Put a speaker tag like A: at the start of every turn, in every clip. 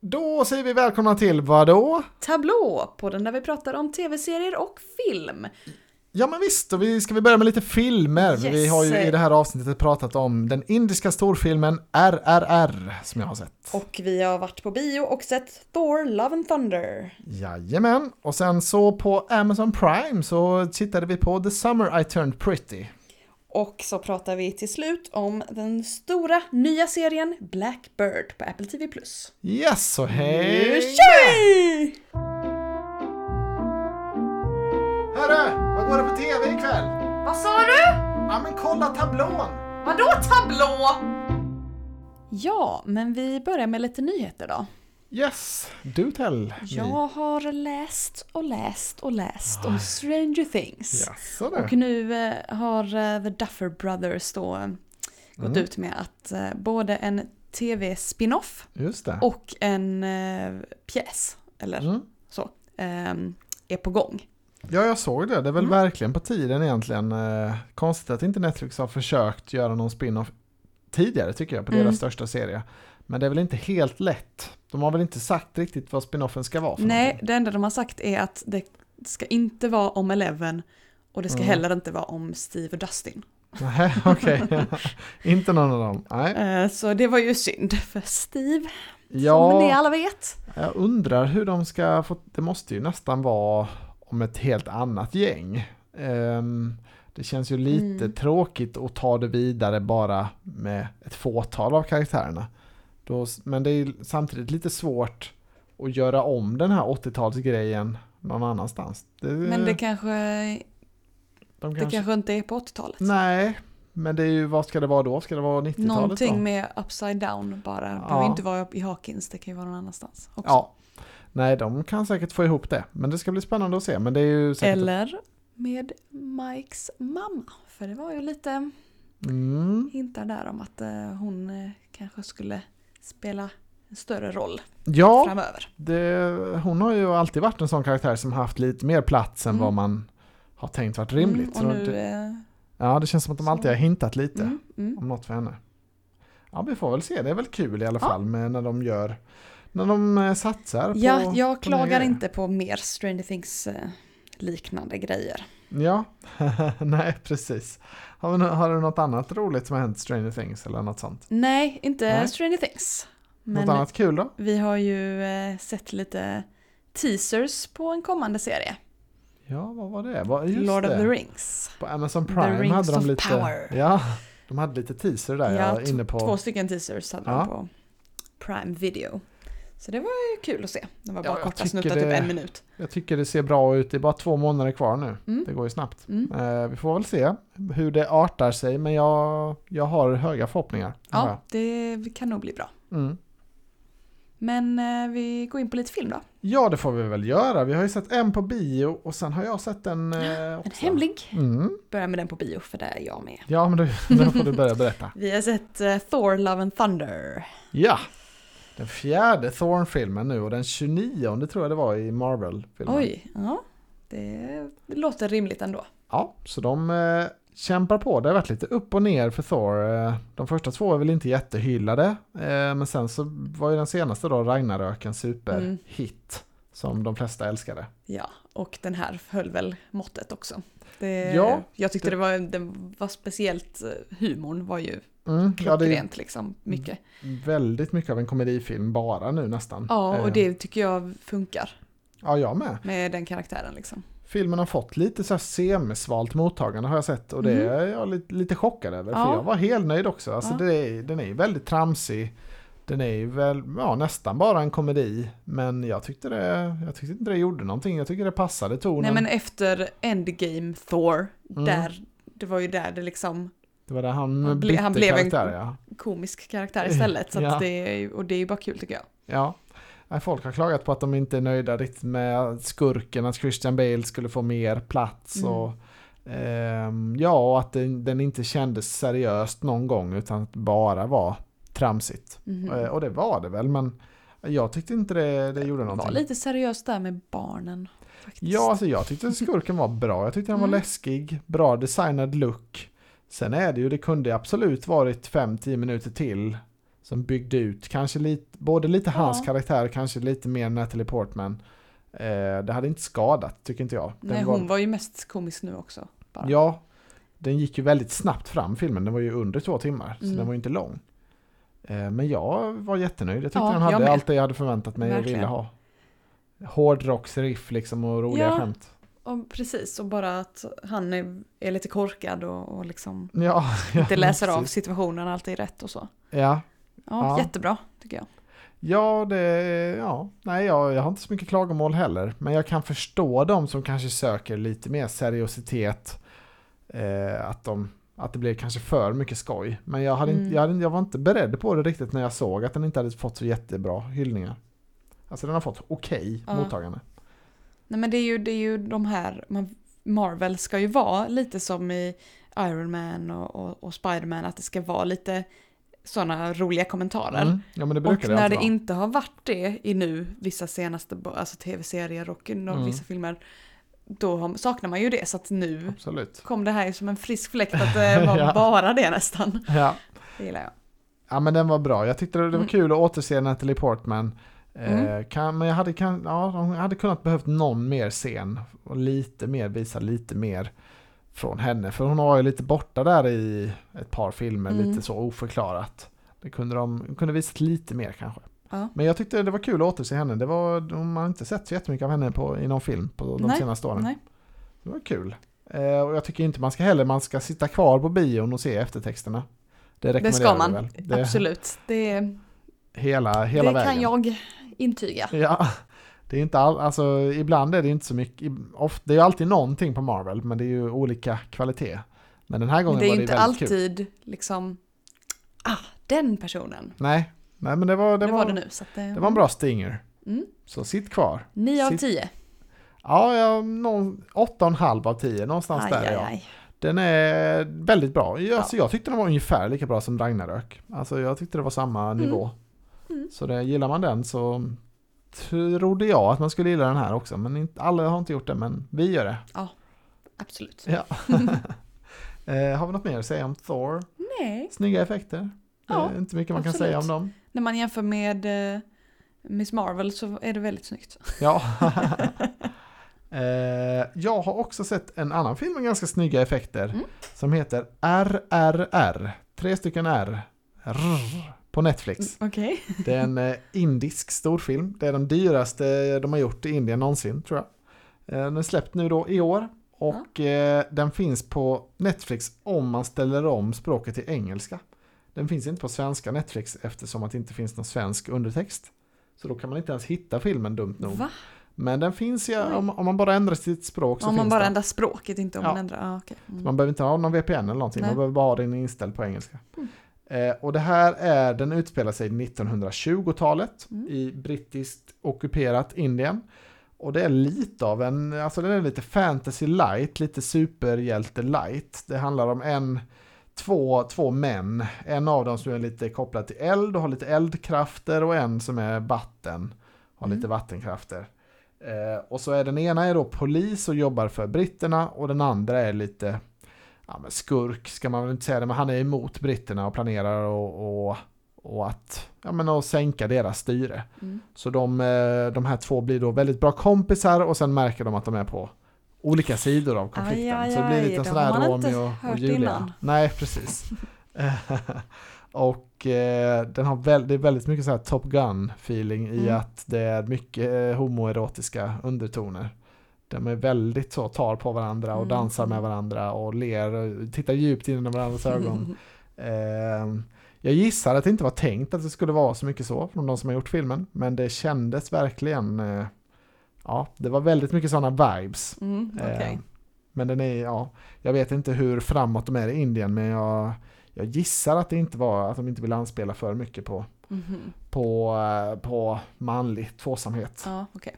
A: Då säger vi välkomna till vadå?
B: Tablå, podden där vi pratar om tv-serier och film.
A: Ja men visst, och vi ska vi börja med lite filmer. Vi
B: Yes.
A: har ju i det här avsnittet pratat om den indiska storfilmen RRR som jag har sett.
B: Och vi har varit på bio och sett Thor Love and Thunder.
A: Jajamän, och sen så på Amazon Prime så tittade vi på The Summer I Turned Pretty.
B: Och så pratar vi till slut om den stora nya serien Blackbird på Apple TV+.
A: Yes, så
B: Nu
A: hej!
B: kör vi!
A: Hörru, vad går det på tv ikväll?
B: Vad sa du?
A: Ja men kolla tablån!
B: Vadå tablå? Ja, men vi börjar med lite nyheter då.
A: Yes, do tell me.
B: Jag har läst och läst och läst om Stranger Things.
A: Jaså
B: Och
A: du?
B: nu eh, har eh, The Duffer Brothers då eh, gått
A: Mm.
B: ut med att eh, både en tv-spinoff
A: Just det.
B: och en eh, pjäs, eller
A: Mm.
B: så, ehm, är på gång.
A: Ja, jag såg det. Det är
B: Mm.
A: väl verkligen på tiden egentligen. Eh, konstigt att inte Netflix har försökt göra någon spin-off tidigare tycker jag på
B: Mm.
A: deras största serie. Men det är väl inte helt lätt. De har väl inte sagt riktigt vad spin-offen ska vara för
B: Nej,
A: någonting.
B: det enda de har sagt är att det ska inte vara om Eleven och det ska
A: Mm.
B: heller inte vara om Steve och Dustin.
A: Nej, okej. inte någon av dem. Nej.
B: Eh, så det var ju synd för Steve, som ni
A: Ja,
B: alla vet.
A: jag undrar hur de ska få... Det måste ju nästan vara om ett helt annat gäng. Ehm, det känns ju lite
B: Mm.
A: tråkigt att ta det vidare bara med ett fåtal av karaktärerna. Då, men det är ju samtidigt lite svårt att göra om den här 80-talsgrejen någon annanstans. Det,
B: Men det kanske,
A: de
B: det kanske inte är på 80-talet.
A: Nej, men det är ju, vad ska det vara då? Ska det vara 90-talet
B: Någonting
A: då?
B: med upside down bara. Det
A: Ja.
B: behöver inte vara i Hawkins, det kan ju vara någon annanstans också.
A: Ja. Nej, de kan säkert få ihop det. Men det ska bli spännande att se. Men det är ju säkert...
B: Eller med Mikes mamma. För det var ju lite
A: Mm.
B: hintar där om att eh, hon eh, kanske skulle spela en större roll
A: Ja,
B: framöver.
A: det, hon har ju alltid varit en sån karaktär som haft lite mer plats än
B: Mm.
A: vad man har tänkt varit rimligt.
B: Mm, och
A: Så
B: nu,
A: det,
B: eh,
A: ja, det känns som att de
B: så-
A: alltid har hintat lite
B: mm, mm.
A: om något för henne. Ja, vi får väl se. Det är väl kul i alla
B: Ja.
A: fall med när de gör, när de eh, satsar på...
B: Ja, jag
A: på nya
B: klagar
A: grejer.
B: inte på mer Stranger Things eh, liknande grejer.
A: Ja, nej precis. Har, vi, nå- har du något annat roligt som har hänt Stranger Things eller något sånt?
B: Nej, inte
A: Nej.
B: Stranger Things.
A: något
B: Men
A: annat kul då?
B: vi har ju eh, sett lite teasers på en kommande serie.
A: Ja, vad var det? Vad- Just
B: Lord
A: det.
B: of the Rings.
A: På Amazon
B: The
A: Prime
B: Rings
A: hade de
B: of
A: lite...
B: Power.
A: Ja, de hade lite teaser där. jag
B: Ja,
A: var inne på...
B: Två stycken teasers hade
A: Ja.
B: de på Prime Video. Så det var ju kul att se. Det var
A: Ja,
B: bara
A: jag
B: korta
A: tycker
B: snuttar,
A: det-
B: typ en minut.
A: Jag tycker det ser bra ut, det är bara två månader kvar nu.
B: Mm.
A: Det går ju snabbt.
B: Mm.
A: Eh, vi får väl se hur det artar sig, men jag, jag har höga förhoppningar. har
B: Ja, det kan nog bli bra.
A: jag. Mm.
B: Men eh, vi går in på lite film då.
A: ja, det får vi väl göra. Vi har ju sett en på bio och sen har jag sett en... Eh,
B: En
A: också.
B: hemlig.
A: Mm.
B: Börjar med den på bio för det är jag med.
A: Ja, men du, då får du börja berätta.
B: Vi har sett eh, Thor Love and Thunder.
A: Ja, den fjärde Thorn-filmen nu och den 29 tror jag det var i Marvel-filmen.
B: Oj, ja. Det låter rimligt ändå.
A: Ja, så de eh, kämpar på. Det har varit lite upp och ner för Thor. Eh, de första två är väl inte jättehyllade. Eh, men sen så var ju den senaste då Ragnarök en superhit. Som de flesta älskade.
B: Ja, och den här höll väl måttet också. Det,
A: Ja,
B: jag tyckte
A: det-
B: det, var, den var speciellt, eh, humorn var ju
A: Mm, ja, det är
B: klockrent liksom, mycket.
A: väldigt mycket av en komedifilm bara nu nästan.
B: Ja, och
A: Eh,
B: det tycker jag funkar
A: Ja, jag med.
B: med den karaktären liksom.
A: Filmen har fått lite så här semisvalt mottagande har jag sett och det är jag lite, lite chockad över. För
B: Mhm. Ja.
A: jag var helt nöjd också. Alltså,
B: Ja.
A: det är, den är ju väldigt tramsig. Den är ju väl, ja, nästan bara en komedi. Men jag tyckte, det, jag tyckte inte det gjorde någonting. Jag tycker det passade
B: Nej
A: tonen.
B: men efter Endgame Thor,
A: Mm.
B: där, det var ju där det liksom
A: det var där han,
B: Han ble-
A: bytte
B: han blev en-
A: karaktär ja. är
B: komisk karaktär istället. Så
A: Eh, Ja.
B: att det är, ju- och det är ju bara kul tycker jag.
A: ja. Nej, Folk har klagat på att de inte är nöjda riktigt med skurken, att Christian Bale skulle få mer plats.
B: Mm.
A: Och, ehm, ja, och att den, den inte kändes seriöst någon gång utan att bara var tramsigt.
B: Mhm.
A: Eh, Och det var det väl, men jag tyckte inte det, det gjorde
B: Det
A: någonting.
B: var lite seriöst där med barnen. Faktiskt.
A: Ja, alltså jag tyckte skurken var bra. Jag tyckte han var
B: Mm.
A: läskig, bra designad look. Sen är det ju, det kunde absolut varit 5-10 minuter till Som byggde ut kanske lite, både lite
B: Ja.
A: hans karaktär, kanske lite mer Natalie Portman. Eh, det hade inte skadat, tycker inte jag. Den
B: Nej,
A: var-
B: hon var ju mest komisk nu också. bara.
A: Ja, den gick ju väldigt snabbt fram filmen. Den var ju under två timmar, så
B: Mm.
A: den var ju inte lång. Eh, Men jag var jättenöjd. Jag tyckte
B: Ja,
A: den
B: jag
A: hade
B: med.
A: allt det jag hade förväntat mig och
B: Verkligen.
A: ville ha. Hårdrocksriff liksom och roliga
B: Ja.
A: skämt.
B: Och precis, och bara att han är, är lite korkad och, och liksom
A: Ja,
B: inte läser av
A: precis.
B: situationen alltid rätt och så.
A: Ja,
B: Ja,
A: Ja.
B: jättebra tycker jag.
A: ja, det, ja. Nej, jag, jag har inte så mycket klagomål heller. Men jag kan förstå de som kanske söker lite mer seriositet. Eh, att, de, att det blir kanske för mycket skoj. Men jag, hade
B: Mm.
A: inte, jag, hade, jag var inte beredd på det riktigt när jag såg att den inte hade fått så jättebra hyllningar. Alltså den har fått okej
B: Ja.
A: mottagande.
B: Nej men det är ju, det är ju de här, man, Marvel ska ju vara lite som i Iron Man och, och, och Spider-Man, att det ska vara lite sådana roliga kommentarer.
A: Mm. Ja men det
B: Och
A: brukar det
B: när det
A: alltid vara.
B: inte har varit det i nu, vissa senaste bo- alltså tv-serier och no-
A: Mm.
B: vissa filmer, då har, saknar man ju det. Så att nu
A: Absolut.
B: kom det här ju som en frisk fläkt att det var
A: Ja.
B: bara det nästan.
A: Ja.
B: Det gillar jag.
A: Ja men den var bra. Jag tyckte det var
B: Mm.
A: kul att återse Natalie Portman. Eh, kan, men jag hade, kan, ja, hon hade kunnat behövt någon mer scen. Och lite mer, visa lite mer från henne. För hon var ju lite borta där i ett par filmer,
B: Mm.
A: lite så oförklarat. Det kunde de de kunde visat lite mer kanske.
B: Ja.
A: Men jag tyckte det var kul att återse henne. Det var, man har inte sett så jättemycket av henne på, i någon film på de
B: Nej,
A: senaste åren.
B: Nej.
A: Det var kul. Eh, och jag tycker inte man ska heller, man ska sitta kvar på bion och se eftertexterna. Det
B: Det
A: rekommenderar
B: ska
A: vi
B: man,
A: väl? Det-
B: absolut. Det,
A: Hela,
B: det
A: hela
B: kan
A: vägen.
B: jag intyga.
A: Ja, det är inte all, alltså ibland är det inte så mycket, i- ofta, det är ju alltid någonting på Marvel men det är ju olika kvalitet. Men den här
B: Men
A: gången
B: det är
A: var
B: ju
A: det
B: inte
A: väldigt kul.
B: alltid liksom, ah, den personen.
A: Nej, nej men det var,
B: Det,
A: det
B: var,
A: var,
B: det nu. Så att det,
A: det var en bra stinger.
B: Mm.
A: Så sitt kvar.
B: 9 av
A: Sitt-
B: 10.
A: Ja, ja någon, 8,5 av 10, någonstans
B: Aj,
A: där är
B: aj,
A: jag.
B: aj.
A: Den är väldigt bra. Jag, alltså, jag tyckte den var ungefär lika bra som Ragnarök. Alltså jag tyckte det var samma nivå.
B: Mm.
A: Så det, gillar man den så trodde jag att man skulle gilla den här också. Men inte, alla har inte gjort det, men vi gör det.
B: Absolut.
A: Ja. eh, har vi något mer att säga om Thor?
B: Nej.
A: Snygga effekter.
B: Ja,
A: det är inte mycket man kan
B: absolut.
A: säga om dem.
B: När man jämför med eh, Miss Marvel så är det väldigt snyggt.
A: Ja. eh, jag har också sett en annan film med ganska snygga effekter.
B: Mm.
A: Som heter RRR. Tre stycken R. Rrr, på Netflix.
B: Okej.
A: Det är en eh, indisk storfilm. Det är den dyraste eh, de har gjort i Indien någonsin tror jag. Eh, Den är släppt nu då i år. Och eh, den finns på Netflix om man ställer om språket till engelska. Den finns inte på svenska Netflix eftersom att det inte finns någon svensk undertext. Så då kan man inte ens hitta filmen dumt nog.
B: Va?
A: Men den finns ju,
B: Oj.
A: om, om man bara ändrar sitt språk så
B: Om man
A: finns
B: bara
A: den.
B: ändrar språket, inte om
A: Ja.
B: man ändrar... Ah, okej. Mm.
A: Man behöver inte ha någon VPN eller någonting,
B: Nej. Mm.
A: man behöver bara ha den inställd på engelska. Eh, och det här är, den utspelar sig 1920-talet
B: Mm.
A: i brittiskt ockuperat Indien. Och det är lite av en, alltså den är lite fantasy light, lite superhjälte light. Det handlar om en, två, två män, en av dem som är lite kopplad till eld och har lite eldkrafter och en som är vatten, har
B: Mm.
A: lite vattenkrafter. Eh, och så är den ena är då polis och jobbar för britterna och den andra är lite ja, men skurk ska man väl inte säga det, men han är emot britterna och planerar och, och, och att ja, men att sänka deras styre.
B: Mm.
A: Så de, eh, de här två blir då väldigt bra kompisar och sen märker de att de är på olika sidor av konflikten.
B: Aj, aj,
A: så det blir
B: aj,
A: lite
B: de
A: sådär
B: har man inte
A: Romeo och, och
B: hört
A: Julia.
B: innan.
A: Nej, precis. och eh, den har väl, det är väldigt mycket så här Top Gun-feeling i
B: Mm.
A: att det är mycket eh, homoerotiska undertoner. De är väldigt så, tar på varandra och
B: Mm.
A: dansar med varandra och ler och tittar djupt in i varandras ögon. Ehm, Jag gissar att det inte var tänkt att det skulle vara så mycket så från de som har gjort filmen. Men det kändes verkligen... eh, Ja, det var väldigt mycket sådana vibes.
B: Mm, okej.
A: Ehm, Men den är, ja, jag vet inte hur framåt de är i Indien men jag, jag gissar att det inte var, att de inte ville anspela för mycket på,
B: Mhm.
A: på, eh, på manlig tvåsamhet.
B: Ja, okej.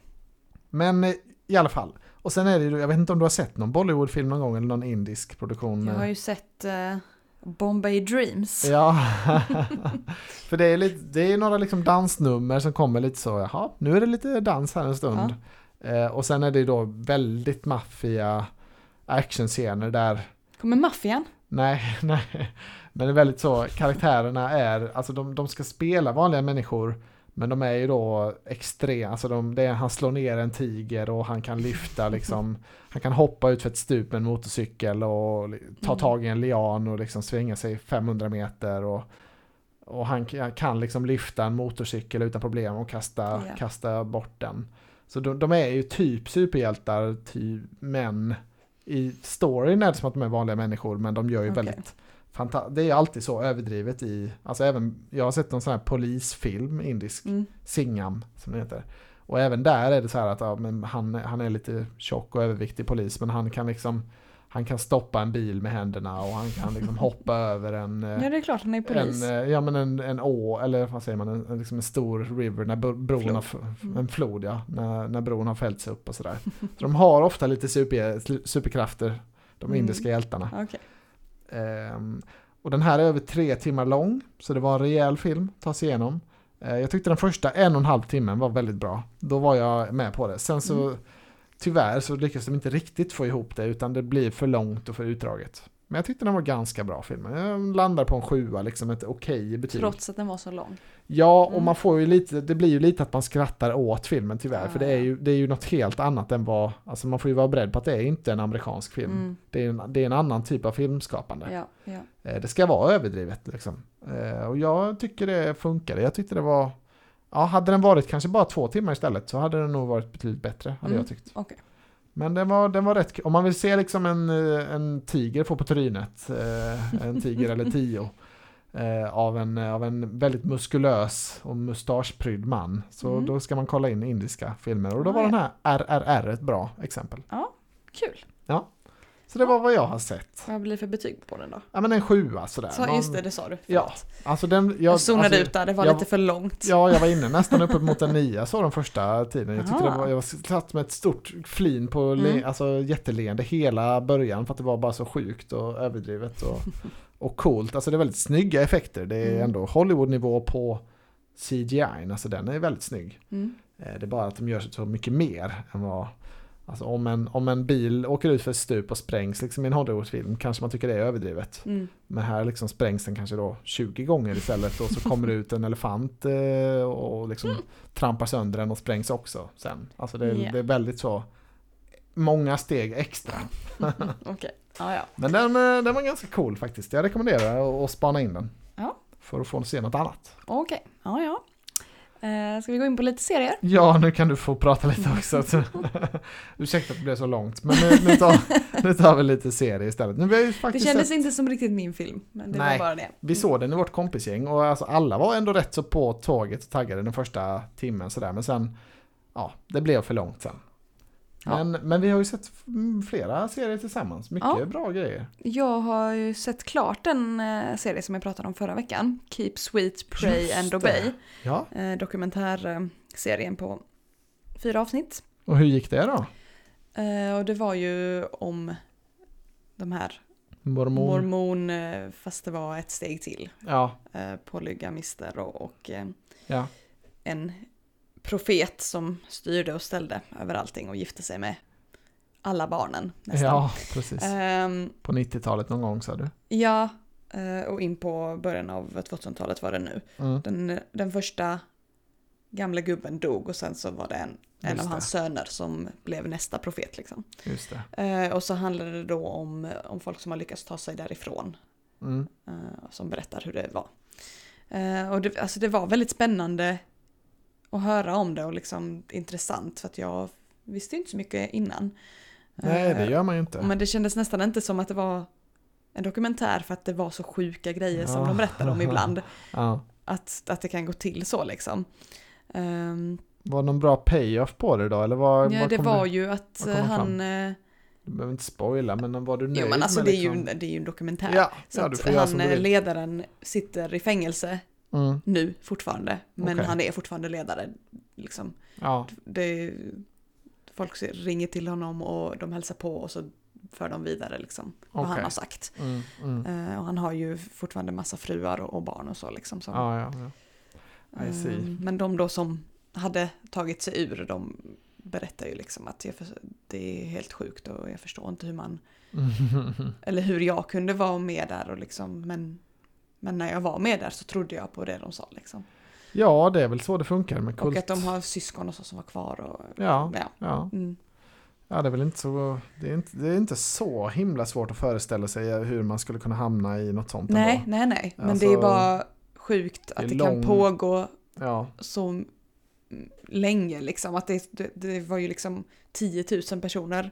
A: Men eh, i alla fall. Och sen är det ju, jag vet inte om du har sett någon Bollywoodfilm någon gång eller någon indisk produktion?
B: Jag
A: eh,
B: har ju sett eh, Bombay Dreams.
A: Ja, för det är, lite, det är några liksom dansnummer som kommer lite så, jaha, nu är det lite dans här en stund. Eh, och sen är det ju då väldigt maffiga actionscener där,
B: Kommer maffian?
A: Nej, nej. Men det är väldigt så, karaktärerna är, alltså de, de ska spela vanliga människor, men de är ju då extrema, alltså de, det är, han slår ner en tiger och han kan lyfta liksom, han kan hoppa ut för ett stup med en motorcykel och li- ta
B: Mm.
A: tag i en lian och liksom svänga sig 500 meter och, och han, k- han kan liksom lyfta en motorcykel utan problem och kasta,
B: Ja.
A: kasta bort den. Så de, de är ju typ superhjältar, typ, men i storyn är det som att de är vanliga människor, men de gör ju
B: Okej.
A: väldigt Fanta- det är ju alltid så överdrivet i, alltså även, jag har sett någon sån här polisfilm, indisk,
B: Mm.
A: Singham som det heter. Och även där är det så här att ja, men han, han är lite tjock och överviktig polis, men han kan liksom, han kan stoppa en bil med händerna och han kan liksom hoppa över en, eh,
B: Ja, det är klart han är polis.
A: en, eh, ja, men en, en å, eller vad säger man, en, en, liksom en stor river, när bro- bron
B: Flod.
A: har, f-
B: Mm.
A: en flod ja, när, när bron har fällts upp och sådär. Så de har ofta lite super, superkrafter, de
B: Mm.
A: indiska hjältarna.
B: Okej.
A: Ehm, och den här är över tre timmar lång, så det var en rejäl film att ta sig igenom. Eh, jag tyckte den första en och en halv timmen var väldigt bra. Då var jag med på det. Sen så
B: Mm.
A: tyvärr så lyckades de inte riktigt få ihop det utan det blir för långt och för utdraget. Men jag tyckte den var ganska bra filmen. Jag landar på en sjua, liksom ett okej betyg.
B: Trots att den var så lång.
A: Ja, och
B: Mm.
A: man får ju lite, det blir ju lite att man skrattar åt filmen tyvärr.
B: Ah,
A: För det är,
B: ja.
A: ju, det är ju något helt annat än vad, alltså man får ju vara beredd på att det är inte en amerikansk film.
B: Mm.
A: Det, är en, det är en annan typ av filmskapande.
B: Ja, ja.
A: Eh, Det ska vara överdrivet liksom. Eh, Och jag tycker det funkade. Jag tyckte det var... Ja, hade den varit kanske bara två timmar istället så hade den nog varit betydligt bättre, hade
B: Mm.
A: jag tyckt.
B: Okej.
A: Men den var, den var rätt kul. Om man vill se liksom en, eh, en tiger få på trynet, eh, en tiger eller tio, eh, av en, av en väldigt muskulös och mustaschprydd man, så
B: Mm.
A: då ska man kolla in indiska filmer. Och då
B: Ah,
A: var
B: ja.
A: den här RRR ett bra exempel.
B: Kul.
A: Så det var vad jag har sett.
B: Vad blir det för betyg på den då?
A: Ja men en sjua sådär.
B: Så,
A: Man-
B: just det, det sa du.
A: Ja,
B: Förlåt.
A: Alltså den, jag,
B: Jag, zonade
A: alltså,
B: ut där, det var
A: jag-
B: lite för långt.
A: Ja, jag var inne nästan uppe mot en nia så den första tiden. Jag tyckte
B: Aha.
A: det var, jag var satt med ett stort flin på le,
B: Mm.
A: alltså, jätteleende hela början för att det var bara så sjukt och överdrivet och, och coolt. Alltså det är väldigt snygga effekter. Det är
B: Mm.
A: ändå Hollywoodnivå på CGI, alltså den är väldigt snygg.
B: Mm.
A: Eh, Det är bara att de gör så mycket mer än vad... Alltså om en, om en bil åker ut för ett stup och sprängs liksom i en Hollywoodfilm kanske man tycker det är överdrivet.
B: Mm.
A: Men här liksom sprängs den kanske då 20 gånger istället och så kommer det ut en elefant eh, och liksom trampar sönder den och sprängs också sen. Alltså det, är-
B: Mm. Ja.
A: det är väldigt så många steg extra.
B: Okej. Ja, ja.
A: Men den, eh, den var ganska cool faktiskt. Jag rekommenderar att- att spana in den.
B: Ja.
A: För att få se något annat.
B: Okej. Ja, ja. Eh, ska vi gå in på lite serier?
A: Ja, nu kan du få prata lite också. Så- Ursäkta att det blev så långt, men nu, nu, tar, nu tar vi lite serie istället. Nu, vi, har ju
B: Det
A: faktiskt sett-
B: kändes inte som riktigt min film, men det
A: Nej.
B: var bara det.
A: Vi såg den i vårt kompisgäng och alltså alla var ändå rätt så på tåget och taggade den första timmen sådär men sen, ja, det blev för långt sen.
B: Ja.
A: Men, men vi har ju sett f- m, flera serier tillsammans, mycket
B: Ja.
A: bra grejer.
B: Mm. Jag har ju sett klart en eh, serie som jag pratade om förra veckan. Keep Sweet, Pray
A: Just
B: and
A: det.
B: Obey.
A: Ja,
B: Eh, dokumentärserien på fyra avsnitt.
A: och hur gick det då?
B: Eh, och det var ju om de här
A: Mormon?
B: mormon, eh, fast det var ett steg till.
A: Ja,
B: Eh, polygamister och, och eh,
A: ja,
B: en profet som styrde och ställde över allting och gifte sig med alla barnen nästan.
A: ja, precis.
B: Ehm,
A: På 90-talet någon gång sa du.
B: ja eh, och in på början av 2000-talet var det nu.
A: Mm.
B: Den, den första gamla gubben dog och sen så var det en, en
A: Just
B: av
A: det.
B: hans söner som blev nästa profet liksom.
A: Just det.
B: Eh, och så handlade det då om, om folk som har lyckats ta sig därifrån.
A: Mm.
B: eh, som berättar hur det var. Eh, och det, alltså det var väldigt spännande att höra om det och liksom intressant för att jag visste inte så mycket innan.
A: Nej,
B: Eh,
A: det gör man ju inte.
B: Men det kändes nästan inte som att det var en dokumentär för att det var så sjuka grejer som
A: Ja.
B: de berättar om ibland.
A: Ja.
B: Att, att det kan gå till så liksom. Ehm,
A: Var det någon bra payoff på det då? Eller var,
B: ja,
A: var
B: det
A: kom
B: var
A: du,
B: ju att
A: vad kom han fram?
B: han... eh,
A: du behöver inte spoila, men var du nöjd
B: Jo men alltså
A: med
B: det är ju,
A: liksom-
B: det är ju en dokumentär.
A: Ja,
B: så
A: ja, du
B: att
A: får göra som
B: han,
A: du
B: eh,
A: vill.
B: ledaren sitter i fängelse
A: Mm.
B: nu fortfarande. Men
A: Okej.
B: han är fortfarande ledare. Liksom.
A: Ja,
B: Det, folk ser- ringer till honom och de hälsar på och så för de vidare liksom, vad
A: okej.
B: han har sagt.
A: Mm, mm.
B: Eh, och han har ju fortfarande massa fruar och, och barn och så. Liksom, som,
A: Ja, ja, ja. I
B: eh,
A: see.
B: men de då som hade tagit sig ur, de berättar ju liksom att jag, förs- det är helt sjukt och jag förstår inte hur man, eller hur jag kunde vara med där och liksom, men, men när jag var med där så trodde jag på det de sa liksom.
A: ja, det är väl så det funkar med kult.
B: Och att de har syskon och så som var kvar och
A: Ja,
B: ja.
A: ja.
B: Mm.
A: ja, det är väl inte så... Det är inte, det är inte så himla svårt att föreställa sig hur man skulle kunna hamna i något sånt
B: Nej,
A: ändå.
B: nej, nej. Men
A: Alltså,
B: det är bara sjukt
A: det är
B: att det,
A: lång-
B: kan pågå
A: Ja,
B: så m- länge liksom. Att det, det, det var ju liksom 10 000 personer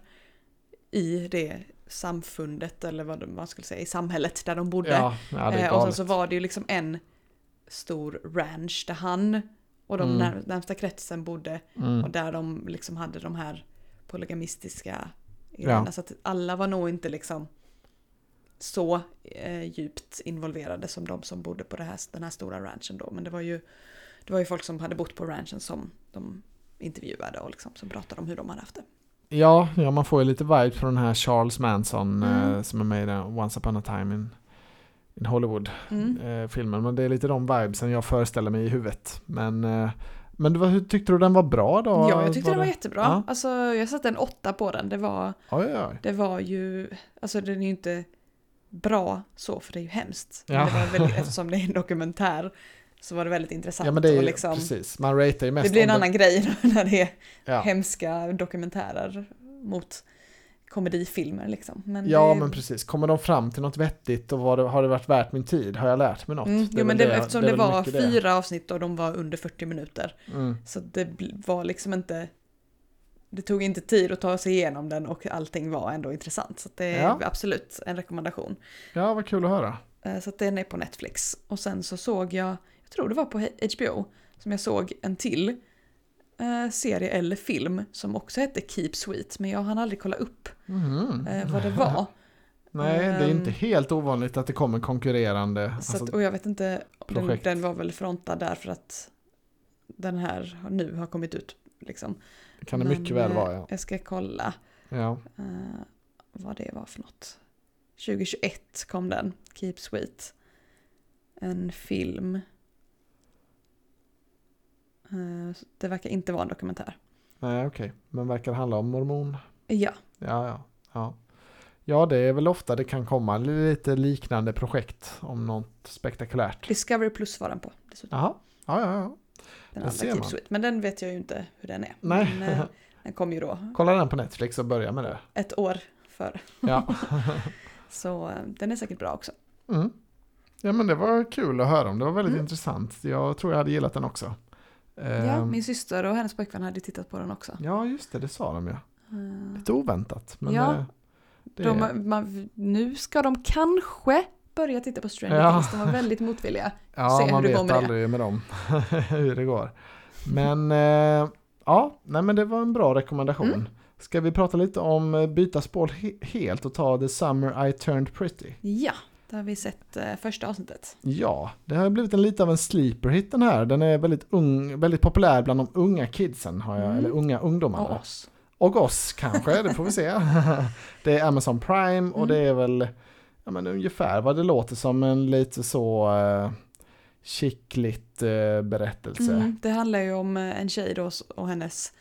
B: i det samfundet eller vad man skulle säga, i samhället där de bodde.
A: ja, ja, det är
B: Eh, och sen
A: galet.
B: så var det ju liksom en stor ranch där han och de
A: Mm.
B: när, närmsta kretsen bodde
A: Mm.
B: och där de liksom hade de här polygamistiska
A: Ja.
B: grejerna. Så att alla var nog inte liksom så eh, djupt involverade som de som bodde på det här, den här stora ranchen då. Men det var, ju, det var ju folk som hade bott på ranchen som de intervjuade och liksom, som pratade om hur de hade haft det.
A: Ja, ja, man får ju lite vibe från den här Charles Manson
B: Mm.
A: eh, som är med i den Once upon a time in, in Hollywood.
B: Mm.
A: eh, filmen. Men det är lite de vibesen jag föreställer mig i huvudet. Men, eh, men det var, hur tyckte du den var bra då?
B: Ja, jag tyckte det var jättebra.
A: Ja.
B: Alltså, jag satte en åtta på den. Det var,
A: Oj, oj, oj.
B: det var ju, alltså den är ju inte bra så för det är ju hemskt. Men
A: Ja.
B: Det var väldigt, eftersom det är en dokumentär så var det väldigt intressant.
A: Ja, men det är ju,
B: och liksom,
A: precis. Man ratear ju mest
B: Det blir en
A: om
B: annan grej när det är
A: Ja.
B: hemska dokumentärer mot komedifilmer liksom. Men
A: Ja,
B: det,
A: men precis. Kommer de fram till något vettigt och var det, har det varit värt min tid? Har jag lärt mig något?
B: Mm,
A: är
B: jo, men
A: väl
B: det, eftersom
A: är
B: det,
A: väl
B: var
A: mycket det.
B: fyra avsnitt och de var under 40 minuter.
A: Mm.
B: Så det bl- var liksom inte... Det tog inte tid att ta sig igenom den och allting var ändå intressant. Så att det är
A: Ja.
B: absolut en rekommendation.
A: Ja, vad kul att höra.
B: Eh, Så att den är på Netflix. Och sen så såg jag, jag tror det var på HBO, som jag såg en till eh, serie eller film som också hette Keep Sweet. Men jag hann aldrig kolla upp
A: Mhm.
B: eh, vad det var.
A: Nej, det är
B: ehm.
A: inte helt ovanligt att det kommer konkurrerande.
B: Så att,
A: alltså,
B: och jag vet inte, om den,
A: projekt.
B: den var väl frontad därför att den här har- nu har kommit ut. Liksom.
A: kan det
B: Men,
A: mycket väl
B: eh,
A: vara, ja.
B: Jag ska kolla
A: ja.
B: eh, vad det var för något. 2021 kom den, Keep Sweet. En film. Eh, det verkar inte vara en dokumentär.
A: Nej, okej. Men verkar det handla om mormon?
B: Ja,
A: Ja, ja, ja. Ja, det är väl ofta det kan komma lite liknande projekt om något spektakulärt.
B: Discovery Plus var den på. Dessutom.
A: Jaha, ja, ja, ja. där
B: Den andra
A: Ah, ser
B: Keep
A: man.
B: Sweet. Men den vet jag ju inte hur den är.
A: Nej.
B: Men, eh, den kom ju då
A: Kolla den på Netflix och börja med det.
B: ett år före.
A: Ja,
B: Så eh, den är säkert bra också.
A: mm. ja men det var kul att höra om. Det var väldigt
B: Mm.
A: intressant. Jag tror jag hade gillat den också.
B: Ja,
A: Ehm,
B: min syster och hennes pojkvän hade tittat på den också.
A: ja just det, det sa de ju.
B: Eh,
A: Lite oväntat. Men
B: Ja.
A: eh, det,
B: De, man, nu ska de kanske börja titta på Stranger
A: Ja.
B: Things, de var väldigt motvilliga. se
A: ja,
B: hur
A: man
B: det går
A: vet
B: med det.
A: aldrig med dem hur det går. Men eh, ja, nej men det var en bra rekommendation.
B: Mm.
A: Ska vi prata lite om eh, byta spår he- helt och ta The Summer I Turned Pretty?
B: Ja, då har vi sett eh, första avsnittet.
A: Ja, det har blivit en lite av en sleeper hit den här. Den är väldigt, ung, väldigt populär bland de unga kidsen, har jag,
B: Mm.
A: eller unga ungdomarna.
B: Och oss.
A: Och oss kanske, det får vi se. det är Amazon Prime och
B: Mm.
A: det är väl ja, men ungefär vad det låter som en lite så eh, chickligt eh, berättelse.
B: Mm, det handlar ju om eh, en tjej då och hennes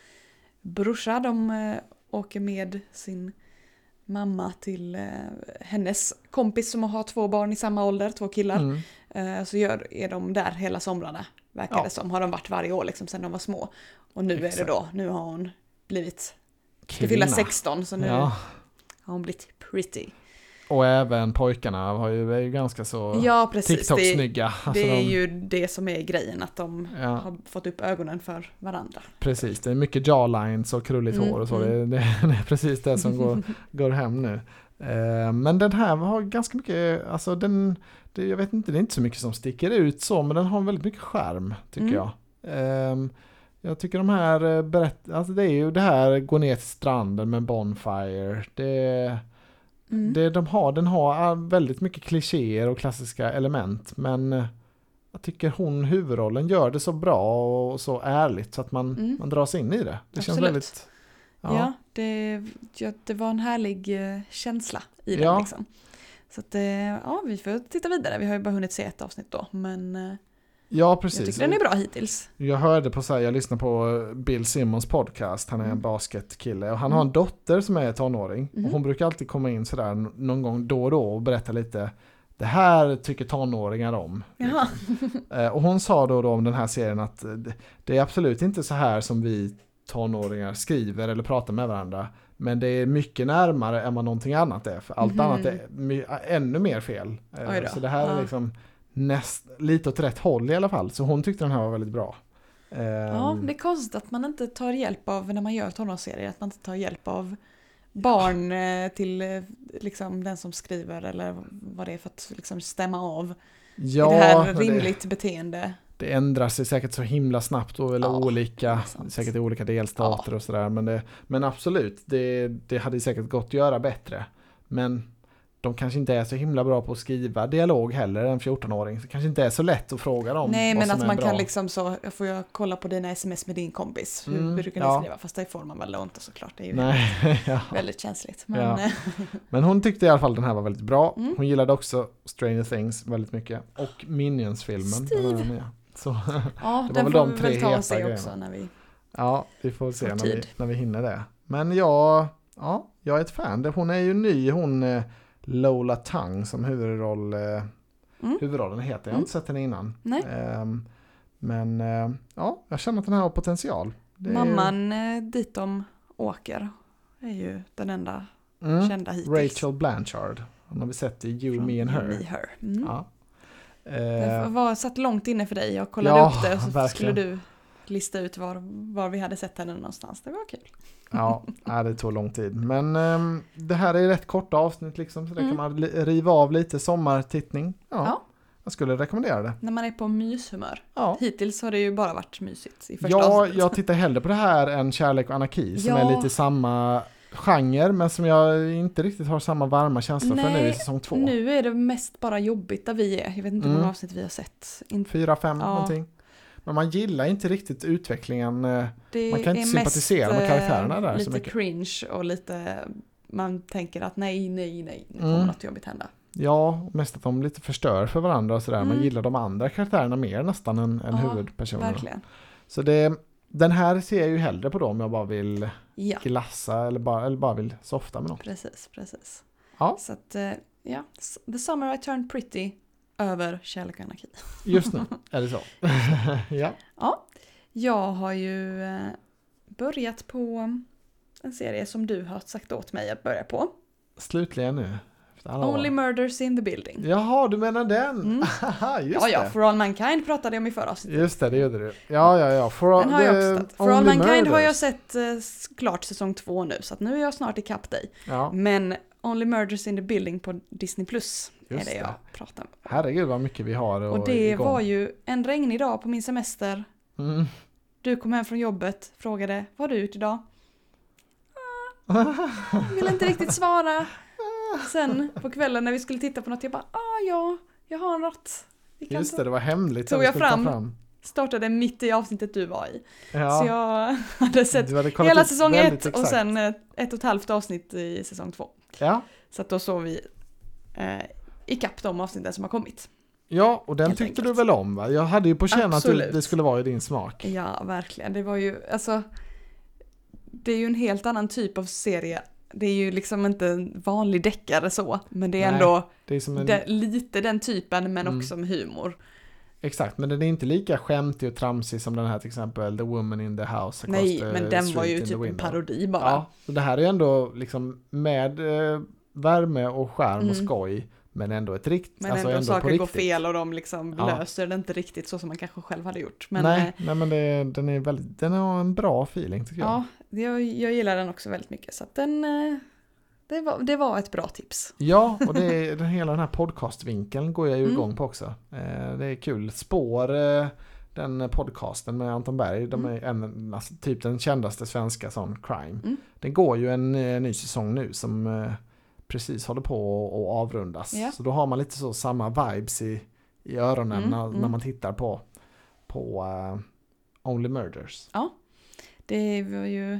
B: brorsa. De eh, åker med sin mamma till eh, hennes kompis som har två barn i samma ålder, två killar.
A: Mm.
B: Eh, Så gör, är de där hela somrarna, verkar
A: Ja.
B: det som. Har de varit varje år liksom, sedan de var små. Och nu är
A: Exakt.
B: det då, nu har hon blivit, ska fylla 16 så nu
A: Ja.
B: har hon blivit pretty.
A: Och även pojkarna har ju, är ju ganska så
B: Ja precis, det,
A: TikTok-snygga. Alltså
B: det är
A: de-
B: ju det som är grejen, att de
A: ja,
B: har fått upp ögonen för varandra.
A: precis, det är mycket jawlines och krulligt
B: Mm,
A: hår och så.
B: mm.
A: Det, det, det är precis det som går, går hem nu. Eh, men den här har ganska mycket, alltså den, det, jag vet inte, det är inte så mycket som sticker ut så, men den har väldigt mycket skärm tycker
B: Mm.
A: jag. Ehm, jag tycker de här eh, berätt, alltså det är ju det här gå ner till stranden med Bonfire. Det,
B: Mm.
A: det de har, den har eh, väldigt mycket klichéer och klassiska element men eh, jag tycker hon, huvudrollen, gör det så bra och så ärligt så att man,
B: Mm.
A: man dras in i det. Det känns
B: Absolut.
A: väldigt...
B: ja, det, ja, det var en härlig eh, känsla i den
A: Ja.
B: liksom. Så att, eh, ja, vi får titta vidare. Vi har ju bara hunnit se ett avsnitt då, men eh,
A: Ja,
B: Jag
A: precis.
B: tycker den är bra hittills.
A: Jag hörde på så här, jag lyssnade på äh, Bill Simmons podcast, han är en
B: Mm.
A: basketkille och han har en dotter som är tonåring
B: Mhm.
A: och hon brukar alltid komma in sådär n- någon gång då och då och berätta lite det här tycker tonåringar om.
B: Jaha.
A: Eh, Och hon sa då, och då om den här serien att eh, det- det är absolut inte så här som vi tonåringar skriver eller pratar med varandra. Men det är mycket närmare än vad någonting annat är. För allt
B: Mhm.
A: annat är my- ännu mer fel. Eh,
B: Oj då.
A: Så det här är
B: Ja.
A: liksom näst, lite åt rätt håll i alla fall. Så hon tyckte den här var väldigt bra. Ehm,
B: Ja, det är konstigt att man inte tar hjälp av, när man gör tonårsserier, att man inte tar hjälp av barn eh, till eh, liksom, den som skriver eller vad det är för att liksom, stämma av.
A: ja,
B: är det här
A: och det,
B: rimligt beteende?
A: det ändrar sig säkert så himla snabbt och eller
B: Ja,
A: olika,
B: det är sant.
A: säkert i olika delstater och sådär. Men, det, men absolut, det, det hade säkert gått att göra bättre. Men de kanske inte är så himla bra på att skriva dialog heller, en 14-åring. Så det kanske inte är så lätt att fråga dem
B: Nej,
A: vad
B: men
A: som
B: att
A: är
B: man
A: bra.
B: kan liksom så, får jag kolla på dina sms med din kompis? Hur
A: Mm,
B: brukar ni
A: ja.
B: skriva? Fast det får man väl då inte såklart, det är ju
A: Nej, ja.
B: väldigt känsligt. Men,
A: Ja.
B: eh,
A: Men hon tyckte i alla fall den här var väldigt bra.
B: Mm.
A: Hon gillade också Stranger Things väldigt mycket. Och Minions-filmen. den här nya. Så,
B: Ja,
A: Det var
B: den
A: väl
B: får
A: de
B: vi
A: tre
B: väl ta
A: heta
B: och se
A: grejerna.
B: också när vi...
A: ja, vi får se
B: Får
A: när vi,
B: tid.
A: när vi hinner det. Men jag, ja, jag är ett fan. Det- Hon är ju ny, hon eh, Lola Tang som huvudroll, eh,
B: Mm.
A: huvudrollen heter. Jag har
B: Mm.
A: inte sett henne innan.
B: Nej.
A: Ehm, men eh, ja, jag känner att den här har potential. Det är-
B: Mamman eh, dit de åker är ju den enda
A: Mm.
B: kända hittills.
A: Rachel Blanchard. Hon har vi sett i You,
B: från
A: Me and
B: You,
A: Her.
B: Me, Her. Mm.
A: Ja.
B: Det
A: Eh,
B: var satt långt inne för dig, jag kollade
A: Ja,
B: upp det och så
A: verkligen.
B: skulle du lista ut var, var vi hade sett henne någonstans. Det var kul.
A: Ja, nej, det tog lång tid. Men ehm, det här är rätt korta avsnitt liksom, så det kan
B: Mm.
A: man li- riva av lite sommartittning. Ja,
B: Ja.
A: Jag skulle rekommendera det.
B: När man är på myshumör.
A: Ja,
B: Hittills har det ju bara varit mysigt i första
A: ja
B: avsnittet.
A: jag tittar hellre på det här än Kärlek och anarki som
B: Ja.
A: är lite samma genre men som jag inte riktigt har samma varma känsla för nu i
B: Nej,
A: säsong två.
B: Nu är det mest bara jobbigt där vi är. Jag vet inte hur
A: Mm.
B: många avsnitt vi har sett. Inte-
A: Fyra, fem
B: Ja.
A: någonting. Men man gillar inte riktigt utvecklingen. eh,
B: Det
A: Man kan inte
B: är
A: sympatisera med
B: eh,
A: karaktärerna där så
B: lite
A: mycket.
B: cringe och lite man tänker att nej, nej, nej, nu
A: Mm.
B: kommer något jobbigt hända.
A: Ja, och mest att de lite förstör för varandra och sådär. Man
B: Mm.
A: gillar de andra karaktärerna mer nästan än, än
B: Ja,
A: huvudpersonerna.
B: Verkligen.
A: Så det, den här ser jag ju hellre på då om jag bara vill
B: Ja,
A: glassa eller bara, eller bara vill softa med någon.
B: precis, precis.
A: Ja.
B: Så att, eh, ja, S- The Summer I Turned Pretty över Kärlek och anarki.
A: Just nu är det så. ja.
B: Ja, jag har ju eh, börjat på en serie som du har sagt åt mig att börja på.
A: Slutligen nu. Efter alla
B: Only
A: år.
B: Murders in the Building.
A: Jaha, du menar den?
B: Mm.
A: Haha, just
B: Ja, ja,
A: det.
B: For All Mankind pratade jag om i förra avsnittet.
A: Just det, det gjorde du. Ja, ja, ja. For
B: Den har jag
A: the
B: också sett. For All
A: Only
B: Mankind har jag
A: Murders.
B: sett eh, s- klart säsong två nu, så att nu är jag snart ikapp dig.
A: Ja,
B: Men Only Murders in the Building på Disney Plus är
A: Just
B: det
A: det.
B: jag pratar om.
A: herregud vad mycket vi har
B: Och det
A: igång.
B: var ju en regnig dag på min semester.
A: Mm.
B: Du kom hem från jobbet, frågade vad har du gjort idag? Ah, ville inte riktigt svara. Sen på kvällen när vi skulle titta på något, jag bara ah ja, jag har något. Vi kan
A: Just
B: ta-
A: det, det var hemligt.
B: Tog
A: som vi
B: jag
A: skulle ta
B: fram? Startade mitt i avsnittet du var i.
A: Ja.
B: Så jag hade sett
A: du hade kollat
B: hela
A: upp
B: säsong ett
A: väldigt
B: och
A: exakt.
B: sen eh, ett och ett halvt avsnitt i säsong två.
A: Ja,
B: Så att då såg vi eh, ikapp de avsnitten som har kommit.
A: ja och den
B: Helt
A: tyckte du
B: enkelt.
A: väl om va? Jag hade ju på känn att du,
B: Absolut.
A: det skulle vara i din smak.
B: Ja, verkligen. Det var ju, alltså, det är ju en helt annan typ av serie. Det är ju liksom inte en vanlig deckare så, men det är
A: Nej,
B: ändå
A: Det är som en
B: de, lite den typen men
A: Mm.
B: också med humor.
A: Exakt, men den är inte lika skämtig och tramsig som den här till exempel The Woman in the House. across
B: Nej,
A: the
B: men den
A: street
B: var
A: in
B: ju
A: the
B: typ en
A: window.
B: parodi bara.
A: Ja, så det här är ju ändå liksom med eh, värme och skärm och
B: Mm.
A: skoj. Men ändå ett rikt,
B: Men
A: alltså
B: ändå,
A: ändå, på
B: saker
A: riktigt.
B: går fel och de liksom
A: Ja.
B: löser det inte riktigt så som man kanske själv hade gjort. Men
A: nej,
B: eh,
A: nej, men det, den är väldigt, den har en bra feeling tycker jag.
B: ja, jag, jag gillar den också väldigt mycket. Så att den, eh, det, var, det var ett bra tips.
A: Ja, och det är, den, hela den här podcastvinkeln går jag ju
B: Mm.
A: igång på också. Eh, det är kul. Spår, eh, den podcasten med Anton Berg, de är en, alltså, typ den kändaste svenska sån crime.
B: Mm.
A: Det går ju en eh, ny säsong nu som eh, precis håller på att avrundas.
B: Ja.
A: Så då har man lite så samma vibes i, i öronen
B: Mm,
A: när, när
B: mm.
A: man tittar på, på eh, Only Murders.
B: Det var ju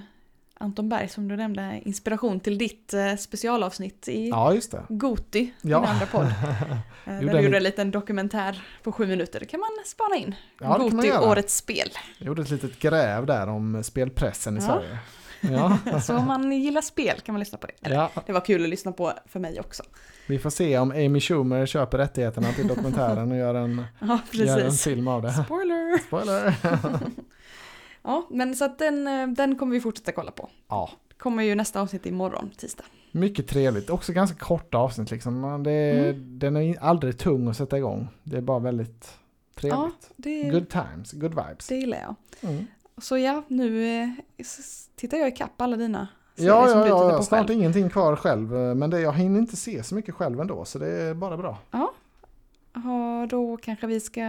B: Anton Berg som du nämnde, inspiration till ditt eh, specialavsnitt i
A: Ja, just det.
B: Goti,
A: Ja.
B: din andra podd. Eh, Där
A: den
B: du
A: i-
B: gjorde en liten dokumentär på sju minuter. Det kan man spana in.
A: Ja, det kan man
B: Goti,
A: göra.
B: årets spel.
A: Jag gjorde ett litet gräv där om spelpressen i
B: Ja.
A: Sverige. Ja,
B: Så om man gillar spel kan man lyssna på det. Eller,
A: ja,
B: Det var kul att lyssna på för mig också.
A: vi får se om Amy Schumer köper rättigheterna till dokumentären och gör en,
B: Ja,
A: gör en
B: precis.
A: film av det.
B: Spoiler!
A: Spoiler!
B: Ja, men så att den, eh, den kommer vi fortsätta kolla på.
A: Ja,
B: Kommer ju nästa avsnitt imorgon, tisdag.
A: mycket trevligt. Också ganska korta avsnitt liksom. Men Det,
B: Mm.
A: Den är in- aldrig tung att sätta igång. Det är bara väldigt trevligt.
B: Det,
A: Good times, good vibes.
B: det gillar jag.
A: Mm.
B: Så ja, nu eh, s- tittar jag ikapp alla dina serier
A: Ja,
B: som
A: ja,
B: du
A: ja,
B: tittar
A: ja.
B: på
A: snart
B: själv.
A: ingenting kvar själv. eh, Men det, jag hinner inte se så mycket själv ändå, så det är bara bra.
B: Ja, då kanske vi ska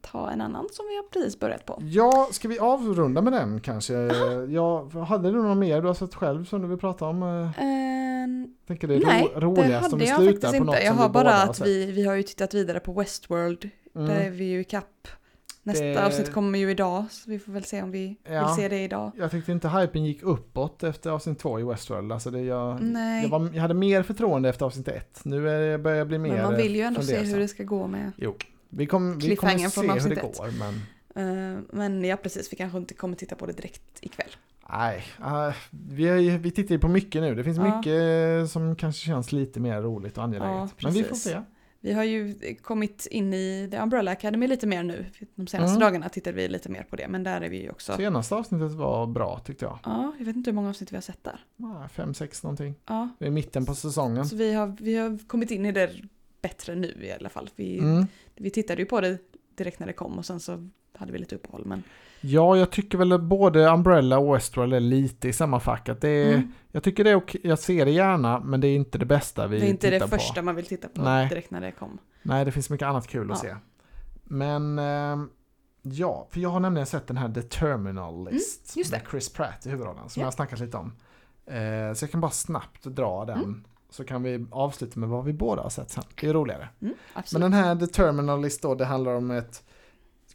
B: ta en annan som vi har precis börjat på.
A: Ja, ska vi avrunda med den kanske? Ja, hade du något mer du har sett själv som du vill prata om? Eh,
B: Eh,
A: tänker det är
B: Nej,
A: ro-
B: det
A: roligast om
B: hade
A: vi
B: jag
A: slutar
B: faktiskt
A: på något
B: inte. Jag
A: som
B: har
A: vi
B: bara
A: båda har
B: att
A: sett.
B: vi, vi har ju tittat vidare på Westworld. Där är
A: Mm.
B: vi ju i kapp. Nästa
A: Det-
B: avsnitt kommer ju idag, så vi får väl se om vi
A: Ja.
B: vill se det idag.
A: Jag tyckte inte hypen gick uppåt efter avsnitt två i Westworld. Alltså det jag,
B: Mm, Nej,
A: jag, var, jag hade mer förtroende efter avsnitt ett. Nu är det, börjar jag bli mer
B: men man vill ju ändå se
A: fundersam.
B: hur det ska gå med.
A: Vi, kom, vi kommer
B: Cliffhangern
A: se
B: från
A: hur det
B: avsnitt ett.
A: går, men
B: Eh, men ja, precis, vi kanske inte kommer titta på det direkt ikväll.
A: nej. eh, vi, har ju- vi tittar ju på mycket nu. Det finns
B: Ja.
A: mycket eh, som kanske känns lite mer roligt och angeläget.
B: Ja,
A: men vi får
B: precis.
A: se.
B: Vi har ju kommit in i The Umbrella Academy lite mer nu. De senaste
A: Mm.
B: dagarna tittade vi lite mer på det, men där är vi ju också...
A: Senaste avsnittet var bra tyckte jag.
B: Ja, jag vet inte hur många avsnitt vi har sett där.
A: Ah, Fem, sex någonting.
B: Ja,
A: Det är mitten på säsongen.
B: så vi har, vi har kommit in i det bättre nu i alla fall. Vi,
A: Mm.
B: vi tittade ju på det direkt när det kom och sen så hade vi lite uppehåll. Men,
A: Ja, jag tycker väl att både Umbrella och Westworld är lite i samma fack. Att det är,
B: Mm.
A: Jag tycker det är okej, jag ser det gärna, men det är inte det bästa vi
B: det är inte det
A: tittar
B: första
A: på.
B: man vill titta på
A: Nej.
B: direkt när det kom. Mm,
A: Nej, det finns mycket annat kul att
B: Ja.
A: se. Men ehm, ja, för jag har nämligen sett den här The Terminal List
B: Mm, just
A: med Chris Pratt i huvudrollen som
B: Ja.
A: jag har snackat lite om. Eh, så jag kan bara snabbt dra den.
B: Mm.
A: Så kan vi avsluta med vad vi båda har sett sen. Det är roligare.
B: Mm,
A: Men
B: absolut.
A: den här The Terminalist då, det handlar om ett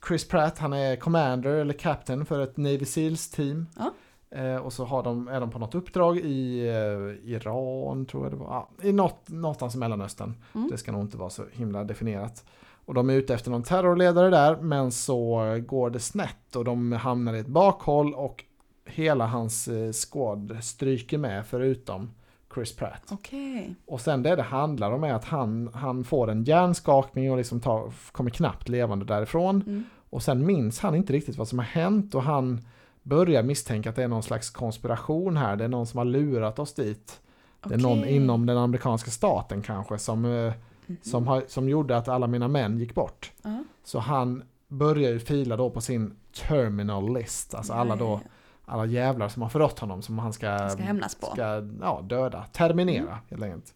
A: Chris Pratt, han är commander eller captain för ett Navy Seals team.
B: Ja.
A: Eh, och så har de, är de på något uppdrag i eh, Iran, tror jag det var. Ja, I något, någonstans i Mellanöstern.
B: Mm.
A: Det ska nog inte vara så himla definierat. Och de är ute efter någon terrorledare där, men så går det snett och de hamnar i ett bakhåll och hela hans eh, squad stryker med förutom Chris Pratt.
B: Okej.
A: Och sen det det handlar om är att han, han får en hjärnskakning och liksom tar, kommer knappt levande därifrån.
B: Mm.
A: Och sen minns han inte riktigt vad som har hänt och han börjar misstänka att det är någon slags konspiration här. Det är någon som har lurat oss dit. Det är någon
B: Okej.
A: inom den amerikanska staten kanske som, eh,
B: Mm.
A: som, har, som gjorde att alla mina män gick bort.
B: Ja.
A: Så han börjar ju fila då på sin terminal list. Alltså alla
B: Ja,
A: då,
B: ja, ja.
A: alla jävlar som har förrått honom som han
B: Det ska hämnas på. Mm.
A: ska ja, döda, terminera helt enkelt.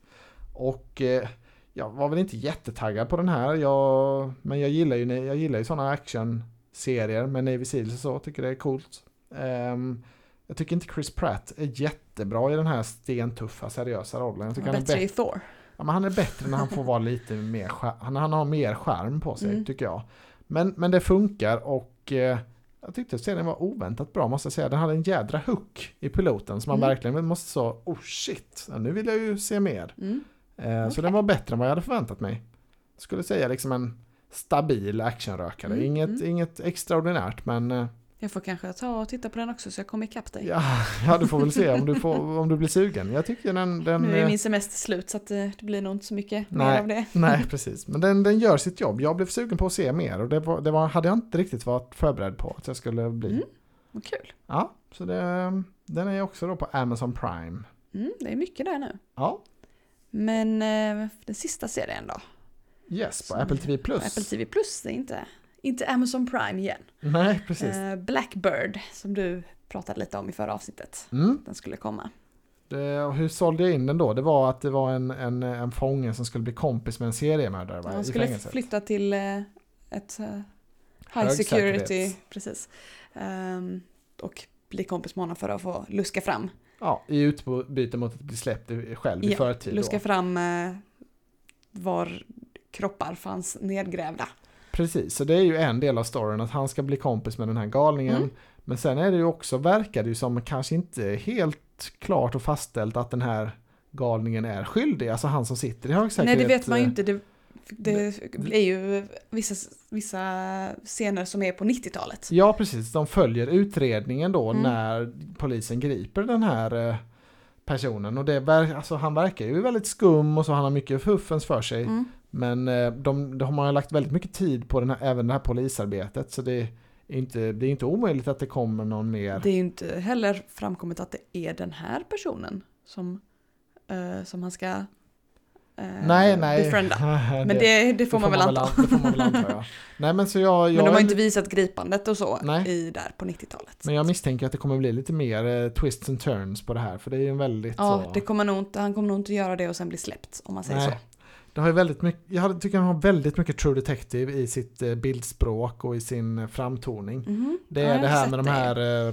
A: Och eh, jag var väl inte jättetaggad på den här, jag, men jag gillar ju, jag gillar ju sådana actionserier med Navy Seals och så, tycker det är coolt. Ehm, jag tycker inte Chris Pratt är jättebra i den här stentuffa, seriösa rollen. Jag tycker han, är
B: Bättre
A: bättre.
B: i Thor.
A: Ja, men han är bättre när han får vara lite mer skär, han, han har mer skärm på sig,
B: Mm.
A: tycker jag. Men, men det funkar och eh, jag tyckte serien var oväntat bra, måste jag säga. Den hade en jädra hook i piloten som man
B: Mm.
A: verkligen måste så, oh shit, ja, nu vill jag ju se mer.
B: Mm.
A: Eh, Så
B: Okej.
A: den var bättre än vad jag hade förväntat mig. Skulle säga liksom en stabil actionrökare,
B: Mm,
A: inget,
B: mm.
A: inget extraordinärt men eh,
B: Jag får kanske ta och titta på den också så jag kommer ikapp dig.
A: ja, ja, du får väl se om du, får, om du blir sugen. Jag tycker den... den
B: nu är
A: eh,
B: ju min semester slut så att eh, det blir nog inte så mycket
A: Nej.
B: mer av det.
A: Nej, precis. Men den, den gör sitt jobb. Jag blev sugen på att se mer och det, var, det var, hade jag inte riktigt varit förberedd på att jag skulle bli.
B: Mm. Vad kul.
A: Ja, så det, den är också då på Amazon Prime.
B: Mm, det är mycket där nu.
A: Ja,
B: Men eh, den sista serien då?
A: yes, på
B: Som
A: Apple TV+. Plus.
B: På Apple TV Plus, det är inte, inte Amazon Prime igen.
A: Nej, precis.
B: Eh, Blackbird som du pratade lite om i förra avsnittet.
A: Mm.
B: Den skulle komma.
A: Det, och hur sålde jag in den då? Det var att det var en, en, en fånge som skulle bli kompis med en seriemördare va?
B: Han
A: i
B: skulle
A: fängelset.
B: flytta till eh, ett eh, high
A: Hög
B: security,
A: säkerhet.
B: precis. Ehm, och bli kompis med honom för att få luska fram,
A: Ja, i utbyte mot att bli släppt i- själv i
B: Ja,
A: förtid. Då.
B: luska fram eh, var kroppar fanns nedgrävda.
A: Precis, så det är ju en del av storyn att han ska bli kompis med den här galningen.
B: Mm.
A: Men sen är det ju också, verkar det ju som kanske inte helt klart och fastställt att den här galningen är skyldig, alltså han som sitter i hög
B: Nej
A: säkerhet.
B: det vet man ju
A: eh,
B: inte. Det, det är ju vissa, vissa scener som är på 90-talet.
A: Ja, precis. De följer utredningen då
B: Mm.
A: när polisen griper den här eh, personen. Och det ver- alltså, han verkar ju väldigt skum och så, han har mycket fuffens för sig.
B: Mm.
A: Men eh, de, de har ju lagt väldigt mycket tid på den här, även det här polisarbetet. Så det är, inte, det är inte omöjligt att det kommer någon mer.
B: Det är ju inte heller framkommit att det är den här personen som, eh, som han ska eh,
A: nej, nej.
B: befrienda.
A: Men
B: Men det, det får man väl anta.
A: Det får man väl anta, ja. Nej, men så jag,
B: Men
A: jag,
B: de har
A: är
B: inte visat gripandet och så
A: Nej.
B: i, där på 90-talet.
A: men jag misstänker att det kommer bli lite mer eh, twists and turns på det här. För det är ju en väldigt
B: Ja,
A: så...
B: det kommer nog inte, han kommer nog inte göra det och sen bli släppt om man säger
A: Nej.
B: så.
A: Det har ju väldigt mycket, jag hade- tycker han har väldigt mycket True Detective i sitt eh, bildspråk och i sin eh, framtoning.
B: Mhm.
A: Det
B: Ja,
A: är
B: jag
A: det
B: har
A: här
B: sett
A: med de
B: det.
A: här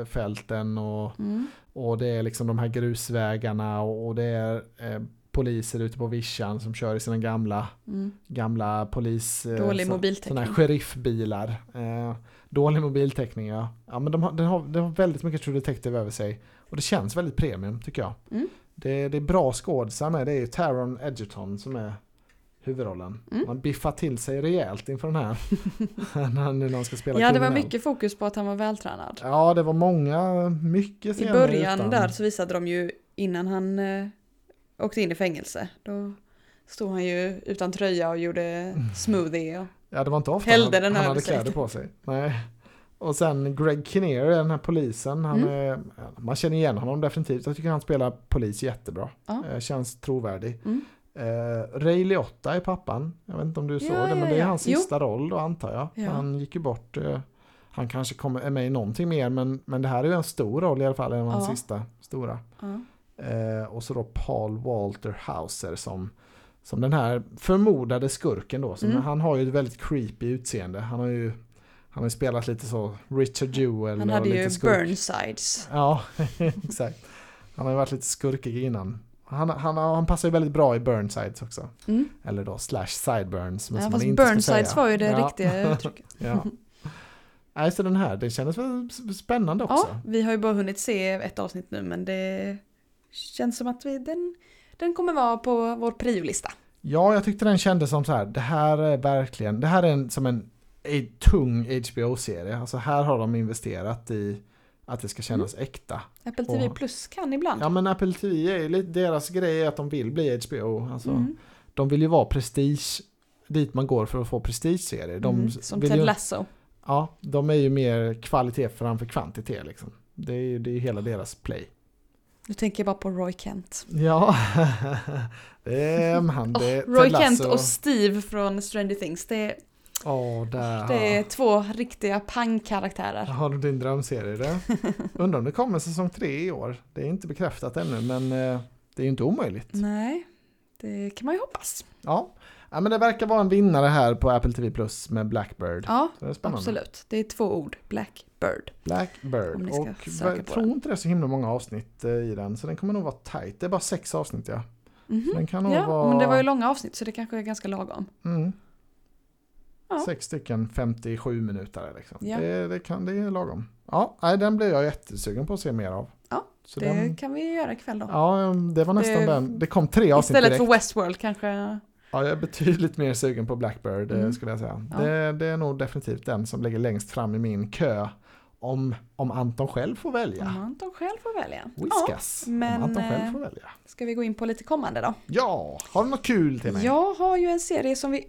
A: eh, rapsfälten och,
B: Mm.
A: och det är liksom de här grusvägarna och, och det är eh, poliser ute på vischan som kör i sina gamla,
B: Mm.
A: gamla polis... eh,
B: Dålig
A: så-
B: mobiltäckning.
A: Sådana här sheriffbilar. Eh, dålig mobiltäckning ja. Ja men de har, den, har, den har väldigt mycket True Detective över sig. Och det känns väldigt premium tycker jag.
B: Mm.
A: Det, det är bra skådisar med. Det är ju Taron Edgerton som är huvudrollen.
B: Mm.
A: Man biffar till sig rejält inför den här. när han nu någon ska spela
B: Ja, det var
A: kriminell.
B: mycket fokus på att han var vältränad.
A: Ja det var många, mycket
B: I
A: scener
B: början
A: utan-
B: där så visade de ju innan han eh, åkte in i fängelse. Då stod han ju utan tröja och gjorde
A: Mm.
B: smoothie. Och,
A: Ja det var inte ofta
B: Hällde
A: han,
B: den
A: han
B: över
A: hade
B: sig.
A: kläder på sig. Nej. Och sen Greg Kinnear, den här polisen, han
B: Mm.
A: är, ja, man känner igen honom definitivt. Jag tycker han spelar polis jättebra.
B: Ja.
A: Eh, känns trovärdig.
B: Mm.
A: Eh, Ray Liotta är pappan. Jag vet inte om du såg det,
B: ja,
A: men det är
B: ja.
A: hans
B: Jo.
A: sista roll då antar jag.
B: Ja.
A: Han gick ju bort. Eh, han kanske kommer, är med i någonting mer, men, men det här är ju en stor roll i alla fall. En av hans
B: Ja.
A: sista stora.
B: ja.
A: Eh, och så då Paul Walter Hauser som, som den här förmodade skurken då. Som,
B: Mm.
A: Han har ju ett väldigt creepy utseende. Han har ju, han har ju spelat lite så Richard Jewell
B: Han
A: och
B: hade
A: lite
B: ju
A: skurk.
B: Burnsides.
A: Ja, exakt. Han har ju varit lite skurkig innan. Han, han, han passar ju väldigt bra i Burnsides också.
B: Mm.
A: Eller då slash sideburns. som
B: Ja,
A: man
B: fast
A: inte ska
B: Burnsides
A: säga.
B: var ju det
A: ja,
B: riktiga uttrycket.
A: Ja. Nej, så den här, den kändes väl spännande också.
B: Ja, vi har ju bara hunnit se ett avsnitt nu men det känns som att vi, den, den kommer vara på vår priolista.
A: Ja, jag tyckte den kändes som så här. Det här är verkligen, det här är en, som en, en tung HBO-serie. Alltså här har de investerat i att det ska kännas
B: Mm.
A: äkta.
B: Apple TV
A: Åh.
B: Plus kan ibland.
A: Ja men Apple TV är ju lite, deras grej är att de vill bli HBO. Alltså,
B: Mm.
A: De vill ju vara prestige, dit man går för att få prestigeserier. De
B: Mm. Som
A: vill
B: Ted
A: ju,
B: Lasso.
A: Ja, de är ju mer kvalitet framför kvantitet liksom. Det är ju det är ju hela deras play.
B: Nu tänker jag bara på Roy Kent.
A: Ja, det är han.
B: Åh,
A: Det,
B: Roy
A: Eh, Ted Lasso.
B: Kent och Steve från Stranger Things. Det är,
A: Åh, där.
B: det är två riktiga pangkaraktärer.
A: Har du din drömserie det? Undrar om det kommer säsong tre i år. Det är inte bekräftat ännu men eh, det är ju inte omöjligt.
B: Nej, det kan man ju hoppas.
A: Ja. ja, men det verkar vara en vinnare här på Apple TV Plus med Blackbird.
B: Ja,
A: Så det är spännande.
B: absolut. Det är två ord. Blackbird. Om
A: Blackbird.
B: ni ska
A: Och
B: söka
A: jag
B: på
A: tror
B: den.
A: inte det är så himla många avsnitt eh, i den så den kommer nog vara tight. Det är bara sex avsnitt ja.
B: Mhm.
A: Så Den kan nog
B: Ja,
A: vara
B: men det var ju långa avsnitt så det kanske är ganska lagom.
A: mm,
B: Ja.
A: sex stycken 57 minuter. Liksom.
B: Ja.
A: Det, det, kan, det är lagom. Ja, nej, den blir jag jättesugen på att se mer av.
B: Ja,
A: så
B: det
A: den,
B: kan vi göra ikväll då.
A: ja, det var nästan
B: Det-
A: den. Det kom tre avsnitt
B: Istället
A: direkt.
B: för Westworld kanske.
A: Ja, jag är betydligt mer sugen på Blackbird eh,
B: Mm.
A: skulle jag säga.
B: Ja.
A: Det, det är nog definitivt den som ligger längst fram i min kö. Om, om Anton själv får välja.
B: Om Anton själv får välja. Mm. Ja,
A: Whiskas.
B: men,
A: om Anton själv
B: eh,
A: får välja.
B: ska vi gå in på lite kommande då?
A: Ja, har du något kul till mig?
B: Jag har ju en serie som vi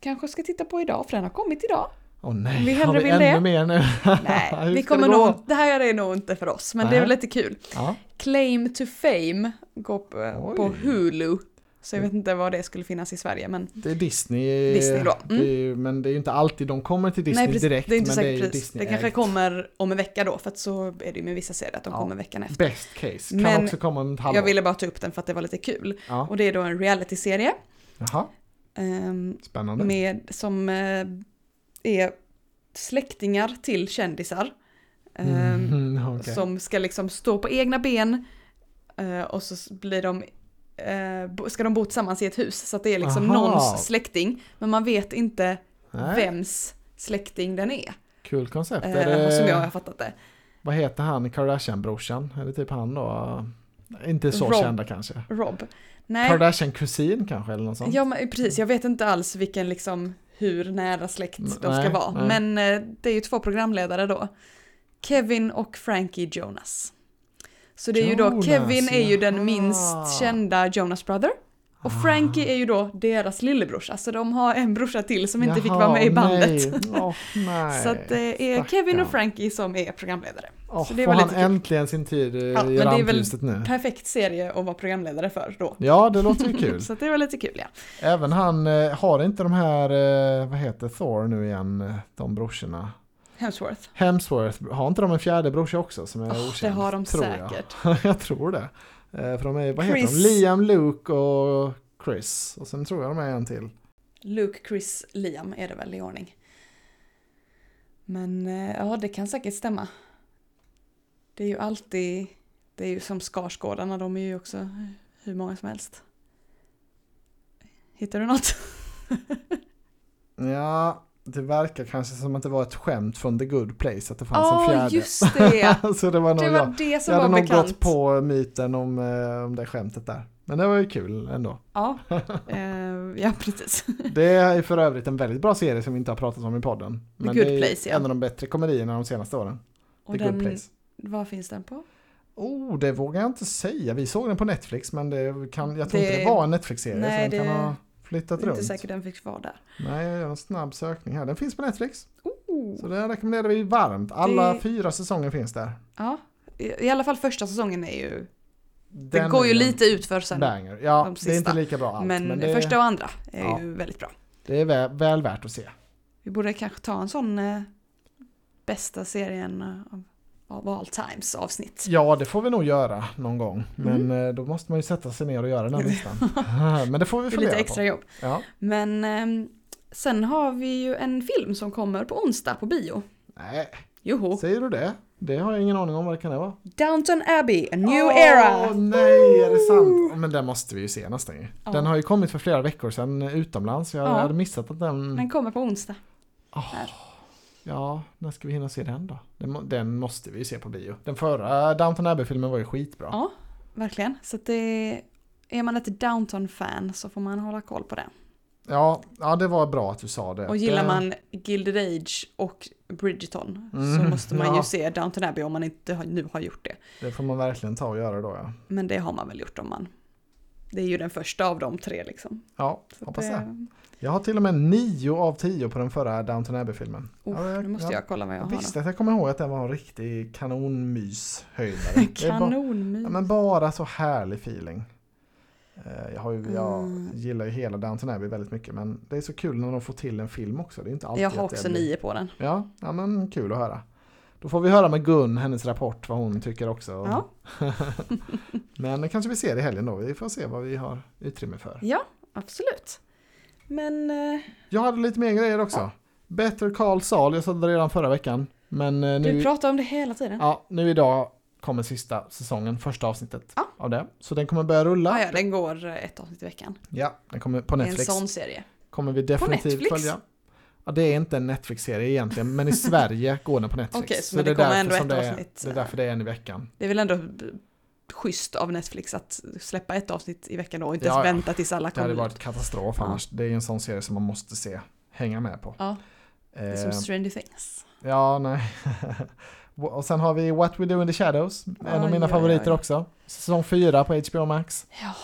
B: kanske ska titta på idag för den har kommit idag.
A: Åh nej,
B: Om vi
A: har
B: hellre
A: vi
B: vill
A: ännu
B: det?
A: mer nu? Hur
B: Nej, vi
A: ska det
B: kommer
A: gå?
B: nog, det här är nog inte för oss men det är
A: Nej.
B: väl lite kul.
A: Ja.
B: Claim to fame går på,
A: Oj.
B: på Hulu. Så jag vet inte var det skulle finnas i Sverige men
A: Det är Disney.
B: Disney då. Mm.
A: Det är, ju- men det är ju inte alltid de kommer till Disney
B: precis,
A: direkt.
B: det är inte
A: men
B: säkert
A: det är ju
B: pris. Det kanske
A: Disney-ägt.
B: kommer om en vecka då för att så är det ju med vissa serier att de
A: Ja.
B: kommer veckan efter.
A: Best case. Kan
B: Men
A: också komma om ett halvår.
B: Jag ville bara ta upp den för att det var lite kul.
A: ja.
B: Och det är då en realityserie
A: Jaha,
B: ehm,
A: spännande.
B: med, som eh, är släktingar till kändisar. Ehm,
A: Mm, okej.
B: Som ska liksom stå på egna ben eh, och så s- blir de, eh, bo- ska de bo tillsammans i ett hus. Så att det är liksom
A: Aha.
B: någons släkting. Men man vet inte
A: Nej,
B: vems släkting den är.
A: Kul koncept.
B: eh,
A: är det,
B: som jag har fattat det.
A: Vad heter han, Kardashian-brorsan? Är det typ han då? Inte så
B: Rob.
A: kända kanske.
B: Rob. Nej,
A: Kardashian-kusin kanske eller något sånt?
B: ja, men, precis. Jag vet inte alls vilken liksom hur nära släkt de ska
A: Nej,
B: vara.
A: nej.
B: Men eh, det är ju två programledare då. Kevin och Frankie Jonas. Så det är ju då,
A: Jonas,
B: Kevin är ju
A: jaha. Ah.
B: den minst kända Jonas Brother. Och Frankie är ju då deras lillebrorsa, så de har en brorsa till som inte fick
A: Jaha,
B: vara med i bandet.
A: Nej. Åh, nej.
B: Så att eh, det är Kevin och
A: stackarn. Mm.
B: Frankie som är programledare.
A: Åh,
B: så det
A: får
B: var
A: han
B: lite kul.
A: äntligen sin tid eh,
B: Ja, men
A: i
B: det är väl-
A: rampljuset nu?
B: Perfekt serie att vara programledare för då.
A: Ja, det låter ju kul.
B: Så att det var lite kul ja.
A: Även han, eh, har inte de här, eh, vad heter Thor nu igen, eh, de brorsorna?
B: Hemsworth.
A: Hemsworth, har inte de en fjärde brorsa också som är
B: Åh, det
A: okänd?
B: har de
A: tror
B: säkert.
A: Jag. jag tror det. Eh, För de är, vad heter
B: Chris.
A: de? Liam, Luke och Chris. Och sen tror jag de är en till.
B: Luke, Chris, Liam är det väl i ordning. Men eh, ja, det kan säkert stämma. Det är ju alltid, det är ju som Skarsgårdarna, de är ju också hur många som helst. Hittar du något?
A: Ja, det verkar kanske som att det var ett skämt från The Good Place att det fanns en
B: Ja,
A: fjärde.
B: just det!
A: Så det var nog
B: Det
A: jag.
B: var det som
A: Jag hade
B: var
A: nog
B: bekant.
A: gått på myten om, eh, om det skämtet där. Men det var ju kul ändå.
B: Ja, eh, ja precis.
A: Det är för övrigt en väldigt bra serie som vi inte har pratat om i podden. Men
B: Good
A: det är
B: Place, ja.
A: en av de bättre komedierna de senaste åren.
B: Och
A: The Good
B: den,
A: Place.
B: vad finns den på?
A: Oh, det vågar jag inte säga. Vi såg den på Netflix men det kan, jag tror
B: Det-
A: inte det var en Netflix-serie.
B: Nej,
A: så den
B: det-
A: kan ha flyttat
B: Jag är
A: runt.
B: inte säker den fick vara där.
A: Nej, jag gör en snabb sökning här. Den finns på Netflix.
B: Oh.
A: Så den rekommenderar vi varmt. Alla
B: Det-
A: fyra säsonger finns där.
B: Ja, i i alla fall första säsongen är ju,
A: Den
B: det går
A: är
B: ju
A: en
B: lite ut för sen.
A: Banger. Ja,
B: de
A: det är
B: sista.
A: inte lika bra allt.
B: men
A: Men, det,
B: första och andra är
A: Ja.
B: ju väldigt bra.
A: det är väl, väl värt att se.
B: Vi borde kanske ta en sån eh, bästa serien av, av all times avsnitt.
A: Ja, det får vi nog göra någon gång. Men
B: Mm.
A: eh, då måste man ju sätta sig ner och göra den här listan. Men det får vi
B: Det är lite
A: fundera
B: extra
A: på.
B: jobb.
A: Ja.
B: Men ehm, sen har vi ju en film som kommer på onsdag på bio.
A: Nej,
B: Joho!
A: säger du det? Det har jag ingen aning om vad det kan vara.
B: Downton Abbey, A New
A: Åh,
B: Era!
A: nej, är det sant? Ja, Men den måste vi ju se nästan ju.
B: Ja.
A: Den har ju kommit för flera veckor sedan utomlands. Jag
B: Ja.
A: hade missat att den...
B: Den kommer på onsdag.
A: Ja, när ska vi hinna se den då? Den, må- den måste vi ju se på bio. Den förra Downton Abbey-filmen var ju skitbra.
B: Ja, verkligen. Så att det, är man ett Downton-fan så får man hålla koll på den.
A: Ja, ja, det var bra att eh, du sa det.
B: Och gillar
A: det...
B: man Gilded Age och Bridgerton så
A: Mm,
B: måste man ju
A: ja.
B: se Downton Abbey om man inte har, nu har gjort det.
A: Det får man verkligen ta och göra då ja.
B: Men det har man väl gjort om man... Det är ju den första av de tre liksom.
A: Ja,
B: Så att
A: hoppas det.
B: det.
A: Jag har till och med 9 av 10 på den förra Downton Abbey-filmen.
B: Oh,
A: Ja, det-
B: nu måste jag kolla vad jag
A: Jag
B: har då.
A: visste att jag kommer ihåg att den var en riktig kanonmyshöjdare. Det är bara-
B: Kanonmys.
A: Ja, men bara så härlig feeling. Eh, Jag, har ju, jag
B: Mm.
A: gillar ju hela Downton Abbey väldigt mycket men det är så kul när de får till en film också. Det är inte alltid
B: jag har
A: att det
B: också
A: blir-
B: nio på den.
A: Ja, ja, men kul att höra. Då får vi höra med Gun, hennes rapport, vad hon tycker också.
B: Ja.
A: Men det kanske vi ser i helgen då. Vi får se vad vi har utrymme för.
B: ja, absolut. Men eh,
A: Jag hade lite mer grejer också. Better Call Saul, jag sa det redan förra veckan. Men eh,
B: du
A: nu,
B: pratar om det hela tiden. Ja,
A: ja, nu idag kommer sista säsongen, första avsnittet
B: Ja.
A: av det. Så den kommer börja rulla.
B: ja, den går eh, ett avsnitt i veckan.
A: Ja, den kommer på
B: Det är en
A: Netflix.
B: sån serie.
A: Kommer vi definitivt
B: Netflix?
A: följa. Ja, det är inte en Netflix-serie egentligen, men i Sverige går den på Netflix.
B: Okej, så men det kommer ändå
A: som
B: ett
A: det är,
B: avsnitt,
A: Det är
B: eh.
A: därför det är en i veckan.
B: Det är väl ändå b- schysst av Netflix att släppa ett avsnitt i veckan då och inte
A: Ja,
B: ens
A: ja.
B: vänta tills alla
A: Det hade
B: kommer
A: varit
B: ut.
A: katastrof
B: Ja.
A: annars. Det är ju en sån serie som man måste se, hänga med på.
B: Ja, det är som
A: Eh,
B: Stranger Things.
A: Ja, nej. Och sen har vi What We Do In The Shadows, en av
B: Oj,
A: mina
B: oj,
A: favoriter
B: oj.
A: också. Säsong 4 på HBO Max.
B: Ja.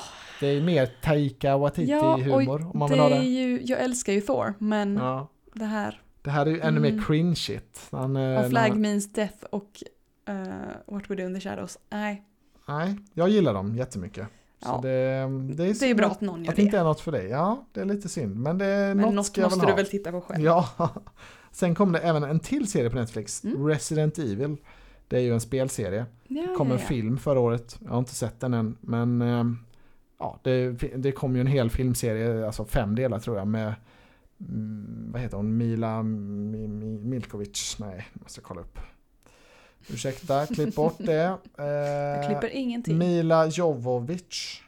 A: Det är mer Taika
B: Ja,
A: Waititi-humor om man
B: det
A: vill ha
B: är
A: det.
B: ju, jag älskar ju Thor, men
A: Ja.
B: det här
A: Det här är ju ännu
B: Mm.
A: mer cringe-igt. Han, eh,
B: A
A: när
B: flag
A: han-
B: means death och eh, What we do in the shadows. Nej,
A: Nej, jag gillar dem jättemycket.
B: Ja.
A: Så det, det är,
B: det är ju
A: synd
B: bra
A: att,
B: att någon gör
A: att det inte
B: det.
A: är något för dig. Ja, det är lite synd. Men det är
B: Men
A: något,
B: något
A: ska jag väl
B: måste
A: ha.
B: du väl titta på själv.
A: Ja. Sen kom det även en till serie på Netflix,
B: Mm.
A: Resident Evil. Det är ju en spelserie.
B: Ja,
A: kom en
B: ja, ja.
A: film förra året, jag har inte sett den än. Men ehm, ja, det, det kom ju en hel filmserie, alltså fem delar tror jag, med mm, vad heter hon, Mila Mi, Mi, Milkovic. Nej, måste kolla upp. Ursäkta, klipp bort det.
B: Jag
A: Eh,
B: klipper ingenting.
A: Mila Jovovic.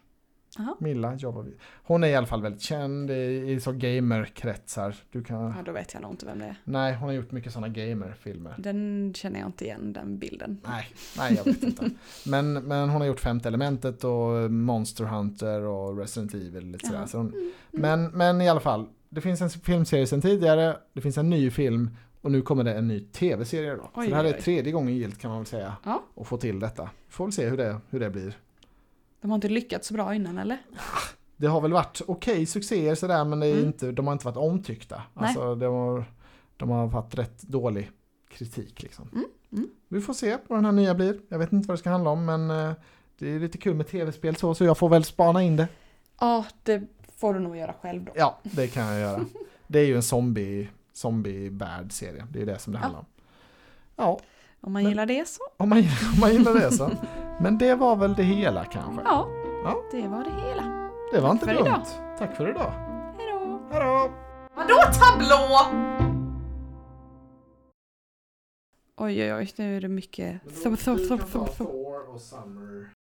B: Aha.
A: Milla jobbar vid. Hon är i alla fall väldigt känd i, i så gamerkretsar. Du kan...
B: Ja, då vet jag nog inte vem det är.
A: Nej, hon har gjort mycket sådana gamerfilmer.
B: Den känner jag inte igen, den bilden.
A: Nej, nej jag vet inte. Men, men hon har gjort Femte Elementet och Monster Hunter och Resident Evil. Lite sådär.
B: Jaha.
A: Så hon,
B: Mm,
A: men, men i alla fall, det finns en filmserie sedan tidigare, det finns en ny film och nu kommer det en ny tv-serie då.
B: Oj,
A: så det här
B: oj,
A: är
B: oj.
A: tredje gången gillt kan man väl säga.
B: Ja.
A: Och få till detta. Får väl se hur det, hur det blir.
B: De har inte lyckats så bra innan eller?
A: Det har väl varit okej succéer sådär men det är
B: Mm.
A: inte, de har inte varit omtyckta.
B: Nej.
A: Alltså, de, har, de har haft rätt dålig kritik. Liksom.
B: Mm, mm.
A: Vi får se vad den här nya blir. Jag vet inte vad det ska handla om men eh, det är lite kul med tv-spel så, så jag får väl spana in det.
B: Ja, det får du nog göra själv då.
A: Ja, det kan jag göra. Det är ju en zombie, zombie-värld serie. Det är ju det som det
B: Ja.
A: handlar om. Ja,
B: Om man
A: Men-
B: gillar det så.
A: om man, gillar- om man gillar det så. Men det var väl det hela kanske.
B: Ja,
A: Ja.
B: det var det hela.
A: det var inte
B: för
A: dumt.
B: idag.
A: Tack för idag.
B: Hej då!
A: Hej då!
B: Vadå tablå? Oj, oj, oj, nu är det mycket...
A: Men då- du kan ta Thor och Summer.